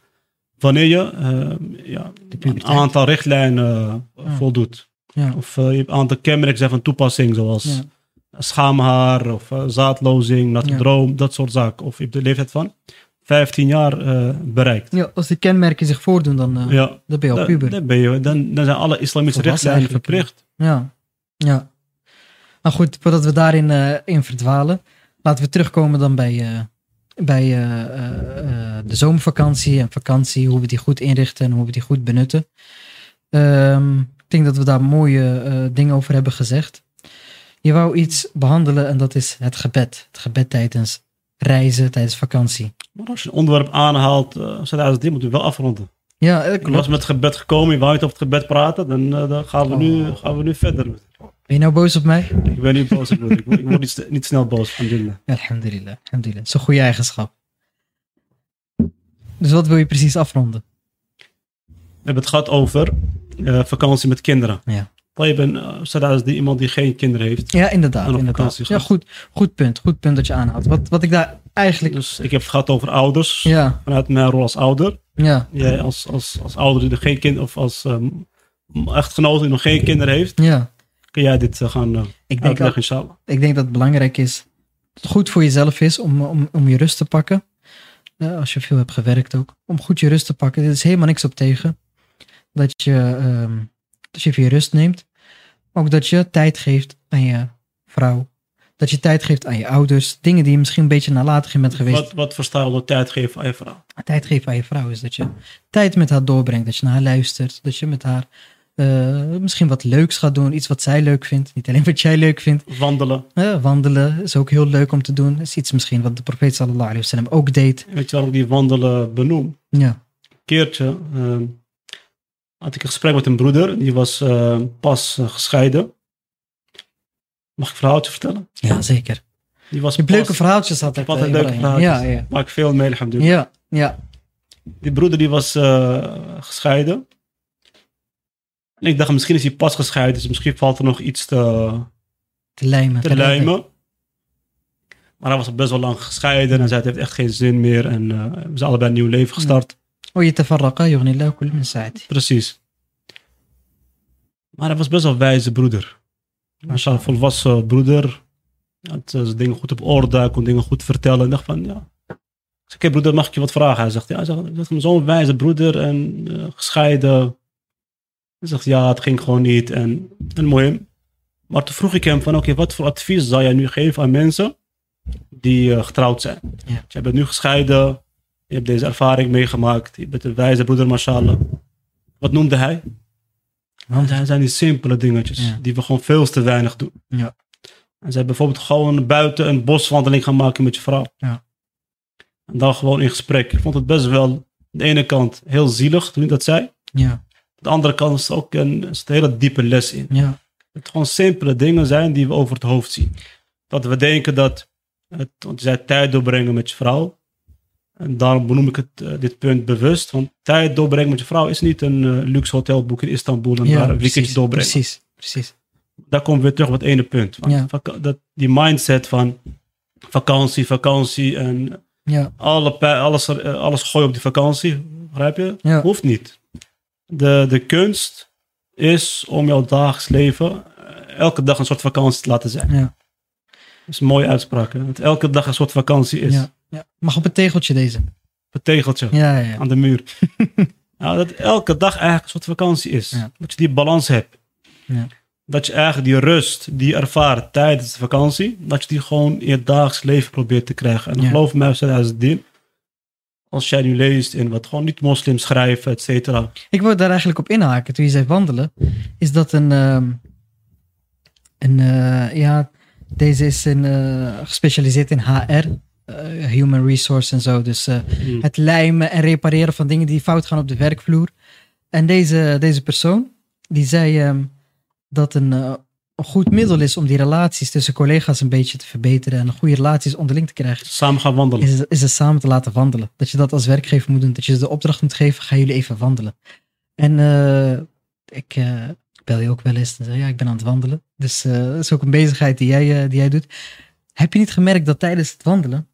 B: Wanneer je eh, ja, een
A: puberteit.
B: aantal richtlijnen eh,
A: Ja.
B: voldoet.
A: ja.
B: Of eh, je hebt een aantal kenmerken zijn van toepassing, zoals
A: Ja.
B: schaamhaar of eh, zaadlozing, natte
A: Ja.
B: droom, dat soort zaken. Of je hebt de leeftijd van 15 jaar eh, bereikt.
A: Ja, als de kenmerken zich voordoen, dan, eh,
B: Ja,
A: dan ben je al
B: dan,
A: puber.
B: dan ben je, dan, dan zijn alle islamitische
A: Volwassen
B: richtlijnen
A: eigenlijk,
B: verplicht.
A: Ja. ja. Maar goed, voordat we daarin eh, in verdwalen, laten we terugkomen dan bij, eh, bij eh, eh, eh, de zomervakantie en vakantie, hoe we die goed inrichten en hoe we die goed benutten. Ehm, ik denk dat we daar mooie eh, dingen over hebben gezegd. Je wou iets behandelen en dat is het gebed. Het gebed tijdens reizen, tijdens vakantie.
B: Maar als je een onderwerp aanhaalt, eh Sadat die moeten we wel afronden.
A: Ja, eh,
B: Ik was
A: klopt.
B: met het gebed gekomen, je wou niet over het gebed praten, dan, eh, dan gaan, we
A: Oh.
B: nu, gaan we nu verder.
A: Ben je nou boos op mij?
B: Ik ben niet boos, broer. ik word, ik word niet, niet snel boos van jullie.
A: Alhamdulillah, alhamdulillah. Dat is een goede eigenschap. Dus wat wil je precies afronden?
B: We hebben het gehad over eh, vakantie met kinderen.
A: Ja.
B: Je bent uh, is die iemand die geen kinderen heeft.
A: Ja,
B: En
A: inderdaad.
B: op
A: inderdaad.
B: vakantie
A: Ja,
B: gaan.
A: goed, goed punt. Goed punt dat je aanhaalt. Wat, wat ik daar eigenlijk...
B: Dus ik heb het gehad over ouders.
A: Ja,
B: Vanuit mijn rol als ouder.
A: ja,
B: Jij als, als, als ouder die nog geen kind of als ehm, echtgenoot die nog geen kinderen heeft.
A: ja.
B: Kun jij dit eh, gaan eh,
A: Ik denk,
B: uitleggen
A: dat,
B: inshallah.
A: ik denk dat het belangrijk is dat het goed voor jezelf is om, om, om je rust te pakken. Eh, als je veel hebt gewerkt ook. Om goed je rust te pakken. Er is helemaal niks op tegen. Dat je, ehm, dat je even je rust neemt. Maar Ook dat je tijd geeft aan je vrouw. Dat je tijd geeft aan je ouders. Dingen die je misschien een beetje nalatig in bent geweest.
B: Wat, wat versta je onder tijd geven aan je vrouw?
A: Tijd geven aan je vrouw is dat je tijd met haar doorbrengt. Dat je naar haar luistert. Dat je met haar eh, misschien wat leuks gaat doen. Iets wat zij leuk vindt. Niet alleen wat jij leuk vindt.
B: Wandelen.
A: Eh, wandelen is ook heel leuk om te doen. Is iets misschien wat de profeet sallallahu alaihi wasallam ook deed.
B: Weet je waarom ik die wandelen benoem?
A: Ja.
B: keertje ehm, had ik een gesprek met een broeder. Die was eh, pas eh, gescheiden. Mag ik een verhaaltje vertellen?
A: ja, zeker.
B: Die was
A: Je hebt
B: pas-
A: leuke verhaaltjes altijd.
B: Wat
A: eh,
B: een leuke
A: Ibrahim. Ja, ja.
B: Maak ik veel mee, alhamdulillah.
A: Ja, ja.
B: Die broeder die was eh, gescheiden. En ik dacht, misschien is hij pas gescheiden. Dus misschien valt er nog iets te,
A: Te lijmen.
B: te
A: te lijmen.
B: lijmen. Maar hij was al best wel lang gescheiden. En zei, het heeft echt geen zin meer. En eh, we zijn allebei een nieuw leven gestart.
A: Oh, je tefarraqa, yughnillahu kull min sa'ati.
B: Precies. Maar hij was best wel een wijze broeder. Hij was een volwassen broeder. Hij had eh, zijn dingen goed op orde, hij kon dingen goed vertellen. Ik dacht van, ja. Ik zeg, "Hey, broeder, mag ik je wat vragen? Hij zegt, ja. Hij zegt, ik dacht, zo'n wijze broeder en eh, gescheiden. Hij zegt, ja, het ging gewoon niet. En, en mooi. Maar toen vroeg ik hem van, oké, wat voor advies zou jij nu geven aan mensen die eh, getrouwd zijn?
A: Ja.
B: Je bent nu gescheiden, je hebt deze ervaring meegemaakt, je bent een wijze broeder, mashallah. Wat noemde hij?
A: Want-
B: Dat zijn die simpele dingetjes
A: Ja.
B: die we gewoon veel te weinig doen.
A: Ja.
B: En zij bijvoorbeeld gewoon buiten een boswandeling gaan maken met je vrouw.
A: Ja.
B: En dan gewoon in gesprek. Ik vond het best wel aan de ene kant heel zielig toen ik dat zei. Aan
A: Ja,
B: de andere kant is ook een, is een hele diepe les in.
A: ja,
B: Het gewoon simpele dingen zijn die we over het hoofd zien. Dat we denken dat het, want je zei tijd doorbrengen met je vrouw. En daarom benoem ik het, eh, dit punt bewust. Want tijd doorbrengen met je vrouw is niet een eh, luxe hotel boeken in Istanbul en
A: ja
B: daar een weekendje doorbrengen
A: precies, precies.
B: daar komen we weer terug op het ene punt. Van
A: Ja.
B: vaka- dat, die mindset van vakantie, vakantie en
A: Ja,
B: alle, pij- alles, er- eh, alles gooien op die vakantie. Begrijp je?
A: Ja.
B: Hoeft niet. De, de kunst is om jouw dagelijks leven eh, elke dag een soort vakantie te laten zijn.
A: ja,
B: Dat is een mooie uitspraak. Hè? Dat elke dag een soort vakantie is.
A: ja, ja. Mag op het tegeltje deze.
B: Een tegeltje
A: Ja, ja, ja.
B: aan de muur. nou, dat elke dag eigenlijk een soort vakantie is.
A: Ja.
B: Dat je die balans hebt.
A: Ja.
B: Dat je eigenlijk die rust die je ervaart tijdens de vakantie, dat je die gewoon in je dagelijks leven probeert te krijgen. En
A: Ja.
B: geloof mij, Ustad Azzeddin, als jij nu leest in wat gewoon niet-moslims schrijven, et cetera.
A: Ik wou daar eigenlijk op inhaken toen je zei wandelen. Is dat een. ehm, een eh, ja, deze is in, eh, gespecialiseerd in HR, eh, human resource en zo. Dus eh,
B: Mm.
A: het lijmen en repareren van dingen die fout gaan op de werkvloer. En deze, deze persoon, die zei ehm, dat een, eh, een goed middel is om die relaties tussen collega's een beetje te verbeteren en een goede relaties onderling te krijgen
B: Samen gaan wandelen.
A: is, is het samen te laten wandelen. Dat je dat als werkgever moet doen. Dat je ze de opdracht moet geven, gaan jullie even wandelen. En eh, ik eh, bel je ook wel eens en zeg, ja, ik ben aan het wandelen. Dus eh, dat is ook een bezigheid die jij, eh, die jij doet. Heb je niet gemerkt dat tijdens het wandelen,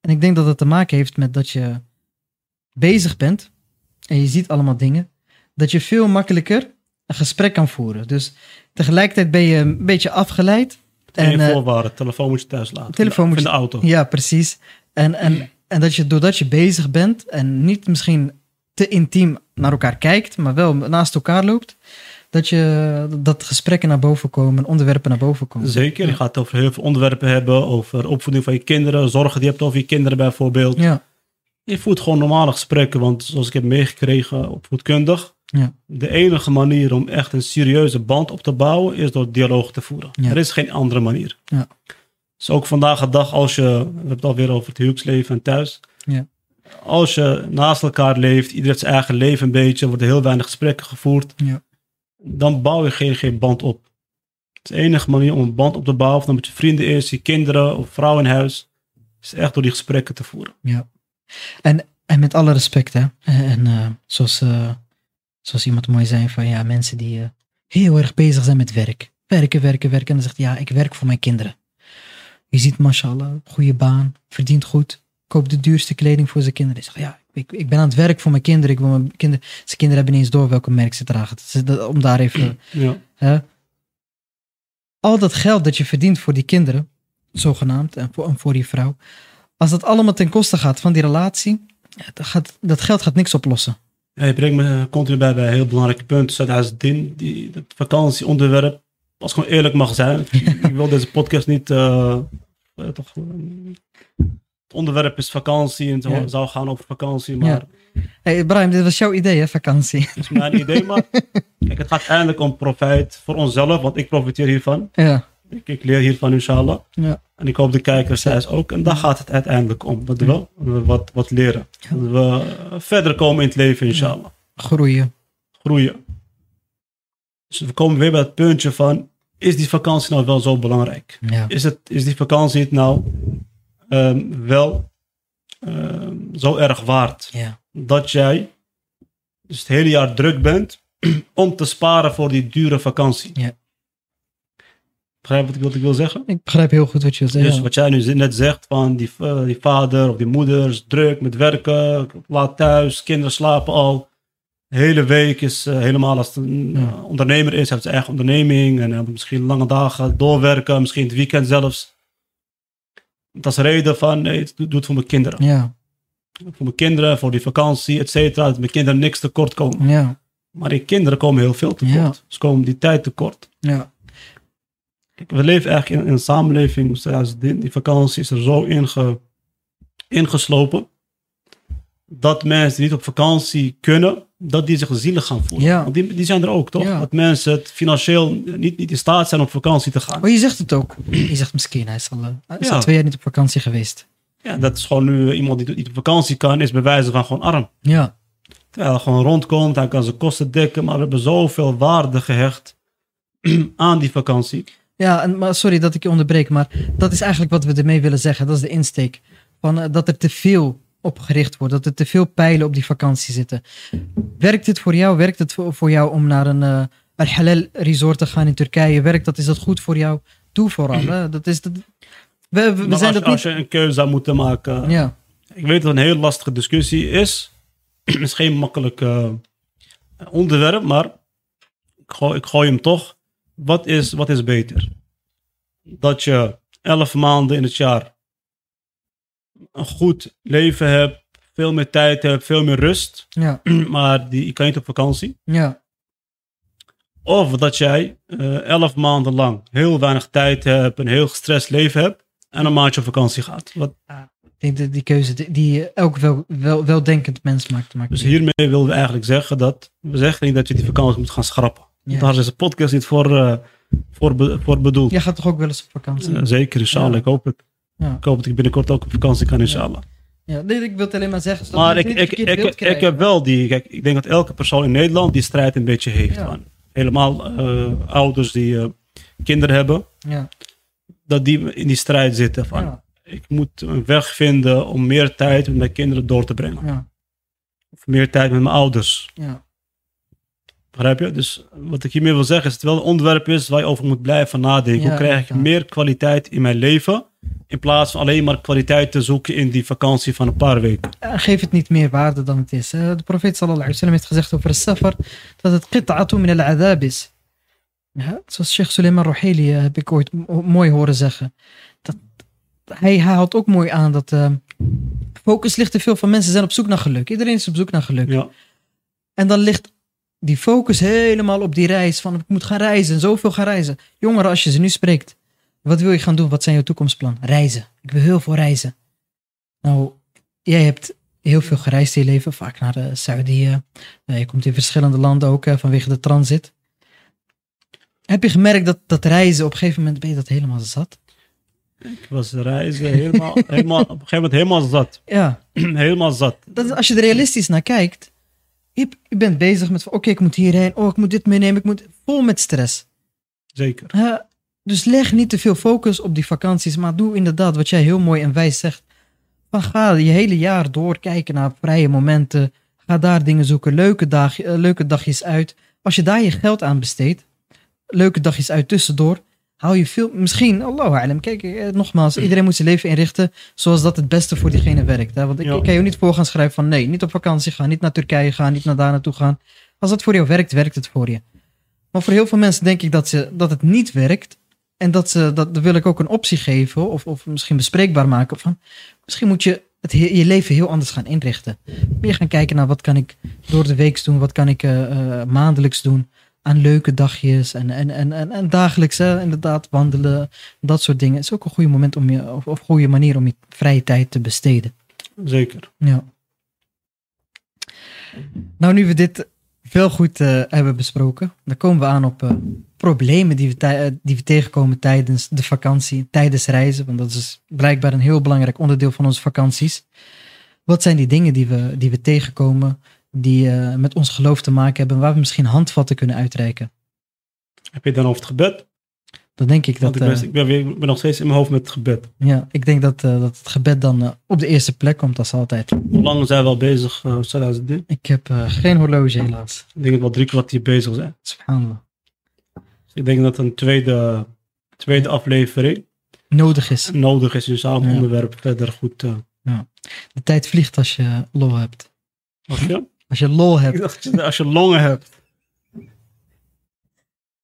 A: en ik denk dat dat te maken heeft met dat je bezig bent en je ziet allemaal dingen, dat je veel makkelijker een gesprek kan voeren. Dus tegelijkertijd ben je een beetje afgeleid.
B: Geen
A: eh,
B: voorwaarden. Telefoon moet je thuis laten.
A: telefoon moet
B: in
A: je-
B: de auto.
A: ja, precies. En, en, en dat je doordat je bezig bent en niet misschien te intiem naar elkaar kijkt, maar wel naast elkaar loopt, dat, je, dat gesprekken naar boven komen, onderwerpen naar boven komen.
B: Zeker. Je gaat het over heel veel onderwerpen hebben. Over opvoeding van je kinderen, zorgen die je hebt over je kinderen bijvoorbeeld.
A: Ja,
B: Je voert gewoon normale gesprekken, want zoals ik heb meegekregen opvoedkundig,
A: Ja.
B: de enige manier om echt een serieuze band op te bouwen is door dialoog te voeren.
A: Ja.
B: Er is geen andere manier.
A: Ja.
B: Dus ook vandaag de dag, als je, we hebben het alweer over het huwelijksleven en thuis.
A: Ja.
B: Als je naast elkaar leeft, ieder heeft zijn eigen leven een beetje, er worden heel weinig gesprekken gevoerd,
A: Ja.
B: dan bouw je geen, geen band op. Het is de enige manier om een band op te bouwen, of dan met je vrienden is, je kinderen of vrouw in huis, is echt door die gesprekken te voeren.
A: en met alle respect, hè. En, en, eh, zoals, eh, zoals iemand mooi zei van ja, mensen die eh, heel erg bezig zijn met werk. Werken, werken, werken. En dan zegt ja, ik werk voor mijn kinderen. Je ziet, mashallah, goede baan, verdient goed. Koopt de duurste kleding voor zijn kinderen. Die zegt ja, ik, ik ben aan het werk voor mijn kinderen. Ik wil mijn kinderen. Zijn kinderen hebben niet eens door welke merk ze dragen. Dus dat- Om daar even
B: Ja.
A: Hè? Al dat geld dat je verdient voor die kinderen, zogenaamd, en voor, en voor die vrouw, als dat allemaal ten koste gaat van die relatie, ja, dat, gaat, dat geld gaat niks oplossen.
B: Ja, je brengt me eh, continu bij bij een heel belangrijk punt. Zet als din, die, dat vakantieonderwerp, als ik gewoon eerlijk mag zijn. ik wil deze podcast niet. eh, eh, toch, eh, het onderwerp is vakantie en het
A: Ja.
B: zou gaan over vakantie, maar
A: Ja. hey, Brian, dit was jouw idee, hè, vakantie.
B: dat is mijn idee. Maar kijk, het gaat eindelijk om profijt voor onszelf, want ik profiteer hiervan.
A: ja,
B: Ik, ik leer hiervan, inshallah.
A: ja,
B: En ik hoop de kijkers thuis ook. En daar gaat het uiteindelijk om. Dat we wel we wat, wat leren.
A: Ja.
B: Dat we eh, verder komen in het leven, inshallah.
A: groeien.
B: groeien. Dus we komen weer bij het puntje van, is die vakantie nou wel zo belangrijk?
A: Ja,
B: Is, het, is die vakantie het nou ehm, wel ehm, zo erg waard
A: ja,
B: dat jij dus het hele jaar druk bent om te sparen voor die dure vakantie?
A: Ja.
B: Begrijp je wat ik, wat ik wil zeggen?
A: ik begrijp heel goed wat je wilt
B: Dus
A: zeggen.
B: wat jij nu net zegt van die, eh, die vader of die moeder is druk met werken, laat thuis, kinderen slapen al. De hele week is eh, helemaal als het een
A: Ja.
B: eh, ondernemer is, heeft zijn eigen onderneming en eh, moet misschien lange dagen doorwerken, misschien het weekend zelfs. Dat is de reden van, nee, ik doe doe het voor mijn kinderen.
A: Ja,
B: Voor mijn kinderen, voor die vakantie, et cetera. Dat mijn kinderen niks tekort komen.
A: ja,
B: Maar die kinderen komen heel veel tekort.
A: Ja.
B: Ze komen die tijd tekort.
A: ja,
B: Kijk, we leven eigenlijk in, in een samenleving, zoals die, die vakantie is er zo inge, ingeslopen, dat mensen die niet op vakantie kunnen, dat die zich zielig gaan voelen.
A: Ja.
B: Want die, die zijn er ook, toch?
A: Ja.
B: Dat mensen het financieel niet, niet in staat zijn om op vakantie te gaan.
A: Oh, je zegt het ook. Je zegt misschien, hij is, al, eh, hij is
B: Ja.
A: al twee jaar niet op vakantie geweest.
B: Ja, dat is gewoon nu eh, iemand die niet op vakantie kan, is bij wijze van gewoon arm.
A: Ja,
B: Terwijl hij gewoon rondkomt, hij kan zijn kosten dekken, maar we hebben zoveel waarde gehecht aan die vakantie.
A: ja en, maar sorry dat ik je onderbreek, maar dat is eigenlijk wat we ermee willen zeggen. Dat is de insteek. Van, eh, dat er te veel op gericht wordt, dat er te veel pijlen op die vakantie zitten. Werkt dit voor jou? Werkt het voor, voor jou om naar een eh halal resort te gaan in Turkije? Werkt dat? Is dat goed voor jou? Doe vooral. Hè? Dat is, dat, we we, we
B: Maar
A: zijn
B: als,
A: dat
B: als
A: niet...
B: je een keuze zou moeten maken,
A: Ja,
B: ik weet dat het een heel lastige discussie is. Het is geen makkelijk eh, onderwerp, maar ik gooi, ik gooi hem toch. Wat is, wat is beter? Dat je elf maanden in het jaar een goed leven hebt, veel meer tijd hebt, veel meer rust,
A: ja,
B: maar die, je kan niet op vakantie.
A: ja,
B: Of dat jij eh, elf maanden lang heel weinig tijd hebt, een heel gestrest leven hebt en een maandje op vakantie gaat. Wat,
A: Ik denk dat die keuze die- die elk wel, wel, weldenkend mens maakt. maakt
B: Dus
A: niet.
B: hiermee wilden we eigenlijk zeggen dat we zeggen niet dat je die vakantie moet gaan schrappen.
A: Ja.
B: Daar is deze podcast niet voor, eh, voor, be- voor bedoeld.
A: Jij gaat toch ook wel eens op vakantie?
B: Eh, zeker, inshallah.
A: Ja.
B: Ik hoop het.
A: Ja.
B: Ik hoop dat ik binnenkort ook op vakantie kan, inshallah.
A: Ja, nee, ik wil het alleen maar zeggen. zodat
B: Maar
A: we
B: ik,
A: niet
B: ik,
A: verkeerd
B: ik,
A: beeld
B: ik,
A: krijgen.
B: heb wel die... Kijk, ik denk dat elke persoon in Nederland die strijd een beetje heeft.
A: Ja.
B: man. Helemaal eh, ouders die eh, kinderen hebben,
A: Ja,
B: dat die in die strijd zitten van...
A: ja,
B: Ik moet een weg vinden om meer tijd met mijn kinderen door te brengen.
A: ja,
B: Of meer tijd met mijn ouders.
A: ja.
B: Begrijp je? Dus wat ik hiermee wil zeggen is dat het wel een onderwerp is waar je over moet blijven nadenken.
A: Ja,
B: Hoe krijg ik
A: inderdaad.
B: meer kwaliteit in mijn leven? In plaats van alleen maar kwaliteit te zoeken in die vakantie van een paar weken.
A: Eh, Geef het niet meer waarde dan het is. Eh, De profeet sallallahu alaihi wasallam heeft gezegd over het safar dat het qit'atu min al-adab is. Ja, zoals Sheikh Suleiman Roheli eh, heb ik ooit mo- mooi horen zeggen. Dat, hij haalt ook mooi aan dat eh, focus ligt te veel van mensen zijn op zoek naar geluk. Iedereen is op zoek naar geluk.
B: Ja,
A: En dan ligt die focus helemaal op die reis. Van ik moet gaan reizen, zoveel gaan reizen. Jongeren, als je ze nu spreekt, wat wil je gaan doen? Wat zijn jouw toekomstplan? Reizen. Ik wil heel veel reizen. Nou, jij hebt heel veel gereisd in je leven. Vaak naar eh, Saudi. eh, je komt in verschillende landen ook eh, vanwege de transit. Heb je gemerkt dat, dat reizen, op een gegeven moment ben je dat helemaal zat?
B: ik was reizen helemaal, helemaal, op een gegeven moment helemaal zat.
A: Ja,
B: helemaal zat.
A: dat is, als je er realistisch naar kijkt, je, je bent bezig met, van, oké, ik moet hierheen, oh, ik moet dit meenemen, ik moet vol met stress.
B: Zeker.
A: Eh, dus leg niet te veel focus op die vakanties, maar doe inderdaad wat jij heel mooi en wijs zegt. Van ga je hele jaar door kijken naar vrije momenten. Ga daar dingen zoeken, leuke, dag, eh, leuke dagjes uit. Als je daar je geld aan besteedt, leuke dagjes uit tussendoor, hou je veel, misschien, Allahu alam, kijk, eh, nogmaals, iedereen moet zijn leven inrichten zoals dat het beste voor diegene werkt. Hè? Want ik,
B: Ja.
A: ik kan je niet voor gaan schrijven van nee, niet op vakantie gaan, niet naar Turkije gaan, niet naar daar naartoe gaan. Als dat voor jou werkt, werkt het voor je. Maar voor heel veel mensen denk ik dat, ze, dat het niet werkt. En dat, ze, dat wil ik ook een optie geven, of, of misschien bespreekbaar maken. Van, misschien moet je het, he- je leven heel anders gaan inrichten. Meer gaan kijken naar wat kan ik door de week doen, wat kan ik eh, eh, maandelijks doen aan leuke dagjes en, en, en, en, en dagelijks hè, inderdaad wandelen, dat soort dingen. is ook een goede moment om je, of, of goede manier om je vrije tijd te besteden.
B: Zeker.
A: Ja. Nou, nu we dit wel goed eh, hebben besproken, dan komen we aan op eh, problemen die we, tij- eh, die we tegenkomen tijdens de vakantie, tijdens reizen. Want dat is blijkbaar een heel belangrijk onderdeel van onze vakanties. Wat zijn die dingen die we, die we tegenkomen, die eh, met ons geloof te maken hebben, waar we misschien handvatten kunnen uitreiken?
B: Heb je het dan over het gebed?
A: Dan denk ik
B: Want
A: dat.
B: ik, ben,
A: eh,
B: ik, ben, weer- ik ben nog steeds in mijn hoofd met het gebed.
A: ja, ik denk dat, eh, dat het gebed dan eh, op de eerste plek komt, als altijd.
B: Hoe lang zijn we al bezig, eh Salah Zuddin?
A: Ik heb eh, geen horloge, helaas.
B: Ik denk dat we al drie kwartier bezig zijn.
A: Subhanallah.
B: Dus ik denk dat een tweede, tweede aflevering
A: Nodig is.
B: nodig is, inshallah, om
A: Ja.
B: het onderwerp verder goed eh, te...
A: De tijd vliegt als je lol hebt.
B: je?
A: Als je lol
B: Ik
A: hebt.
B: dacht, nou, als je longen hebt,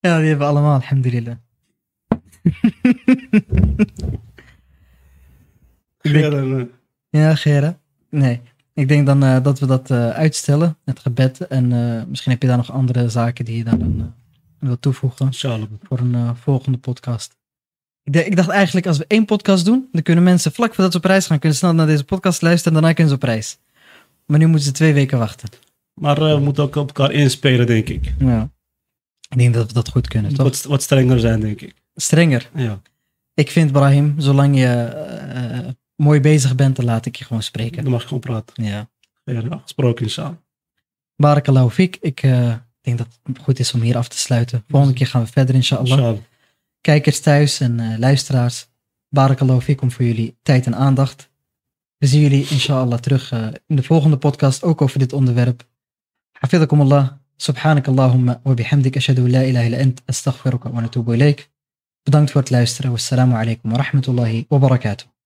A: Ja, die hebben we allemaal, alhamdulillah.
B: Ik denk, een,
A: Ja, Gera. Nee. Ik denk dan eh, dat we dat eh, uitstellen, het gebed. En eh, misschien heb je daar nog andere zaken die je daar dan eh, wilt toevoegen voor een eh, volgende podcast. Ik, denk- ik dacht eigenlijk, als we één podcast doen, dan kunnen mensen vlak voordat ze op reis gaan, kunnen snel naar deze podcast luisteren en daarna kunnen ze op reis. Maar nu moeten ze twee weken wachten.
B: Maar eh, we moeten ook op elkaar inspelen, denk ik.
A: Ja. Ik denk dat we dat goed kunnen, toch?
B: Wat, wat strenger zijn, denk ik.
A: Strenger.
B: Ja,
A: Ik vind, Brahim, zolang je eh, eh, mooi bezig bent, dan laat ik je gewoon spreken.
B: dan mag je gewoon praten.
A: Ja.
B: Ja, afgesproken samen.
A: Barakallahu fiek. Ik eh, denk dat het goed is om hier af te sluiten. Volgende keer gaan we verder, inshallah.
B: Inshallah.
A: kijkers thuis en eh, luisteraars. Barakallahu fikum voor jullie tijd en aandacht. We zien jullie inshallah terug eh, in de volgende podcast ook over dit onderwerp. Hafidakum Allah. Subhanak Allahumma wa bihamdik ashadu la ilaha illa ant astaghfiruka wa natubu ilaik. Bedankt voor het luisteren. Wassalamu alaikum wa rahmatullahi wa barakatuh.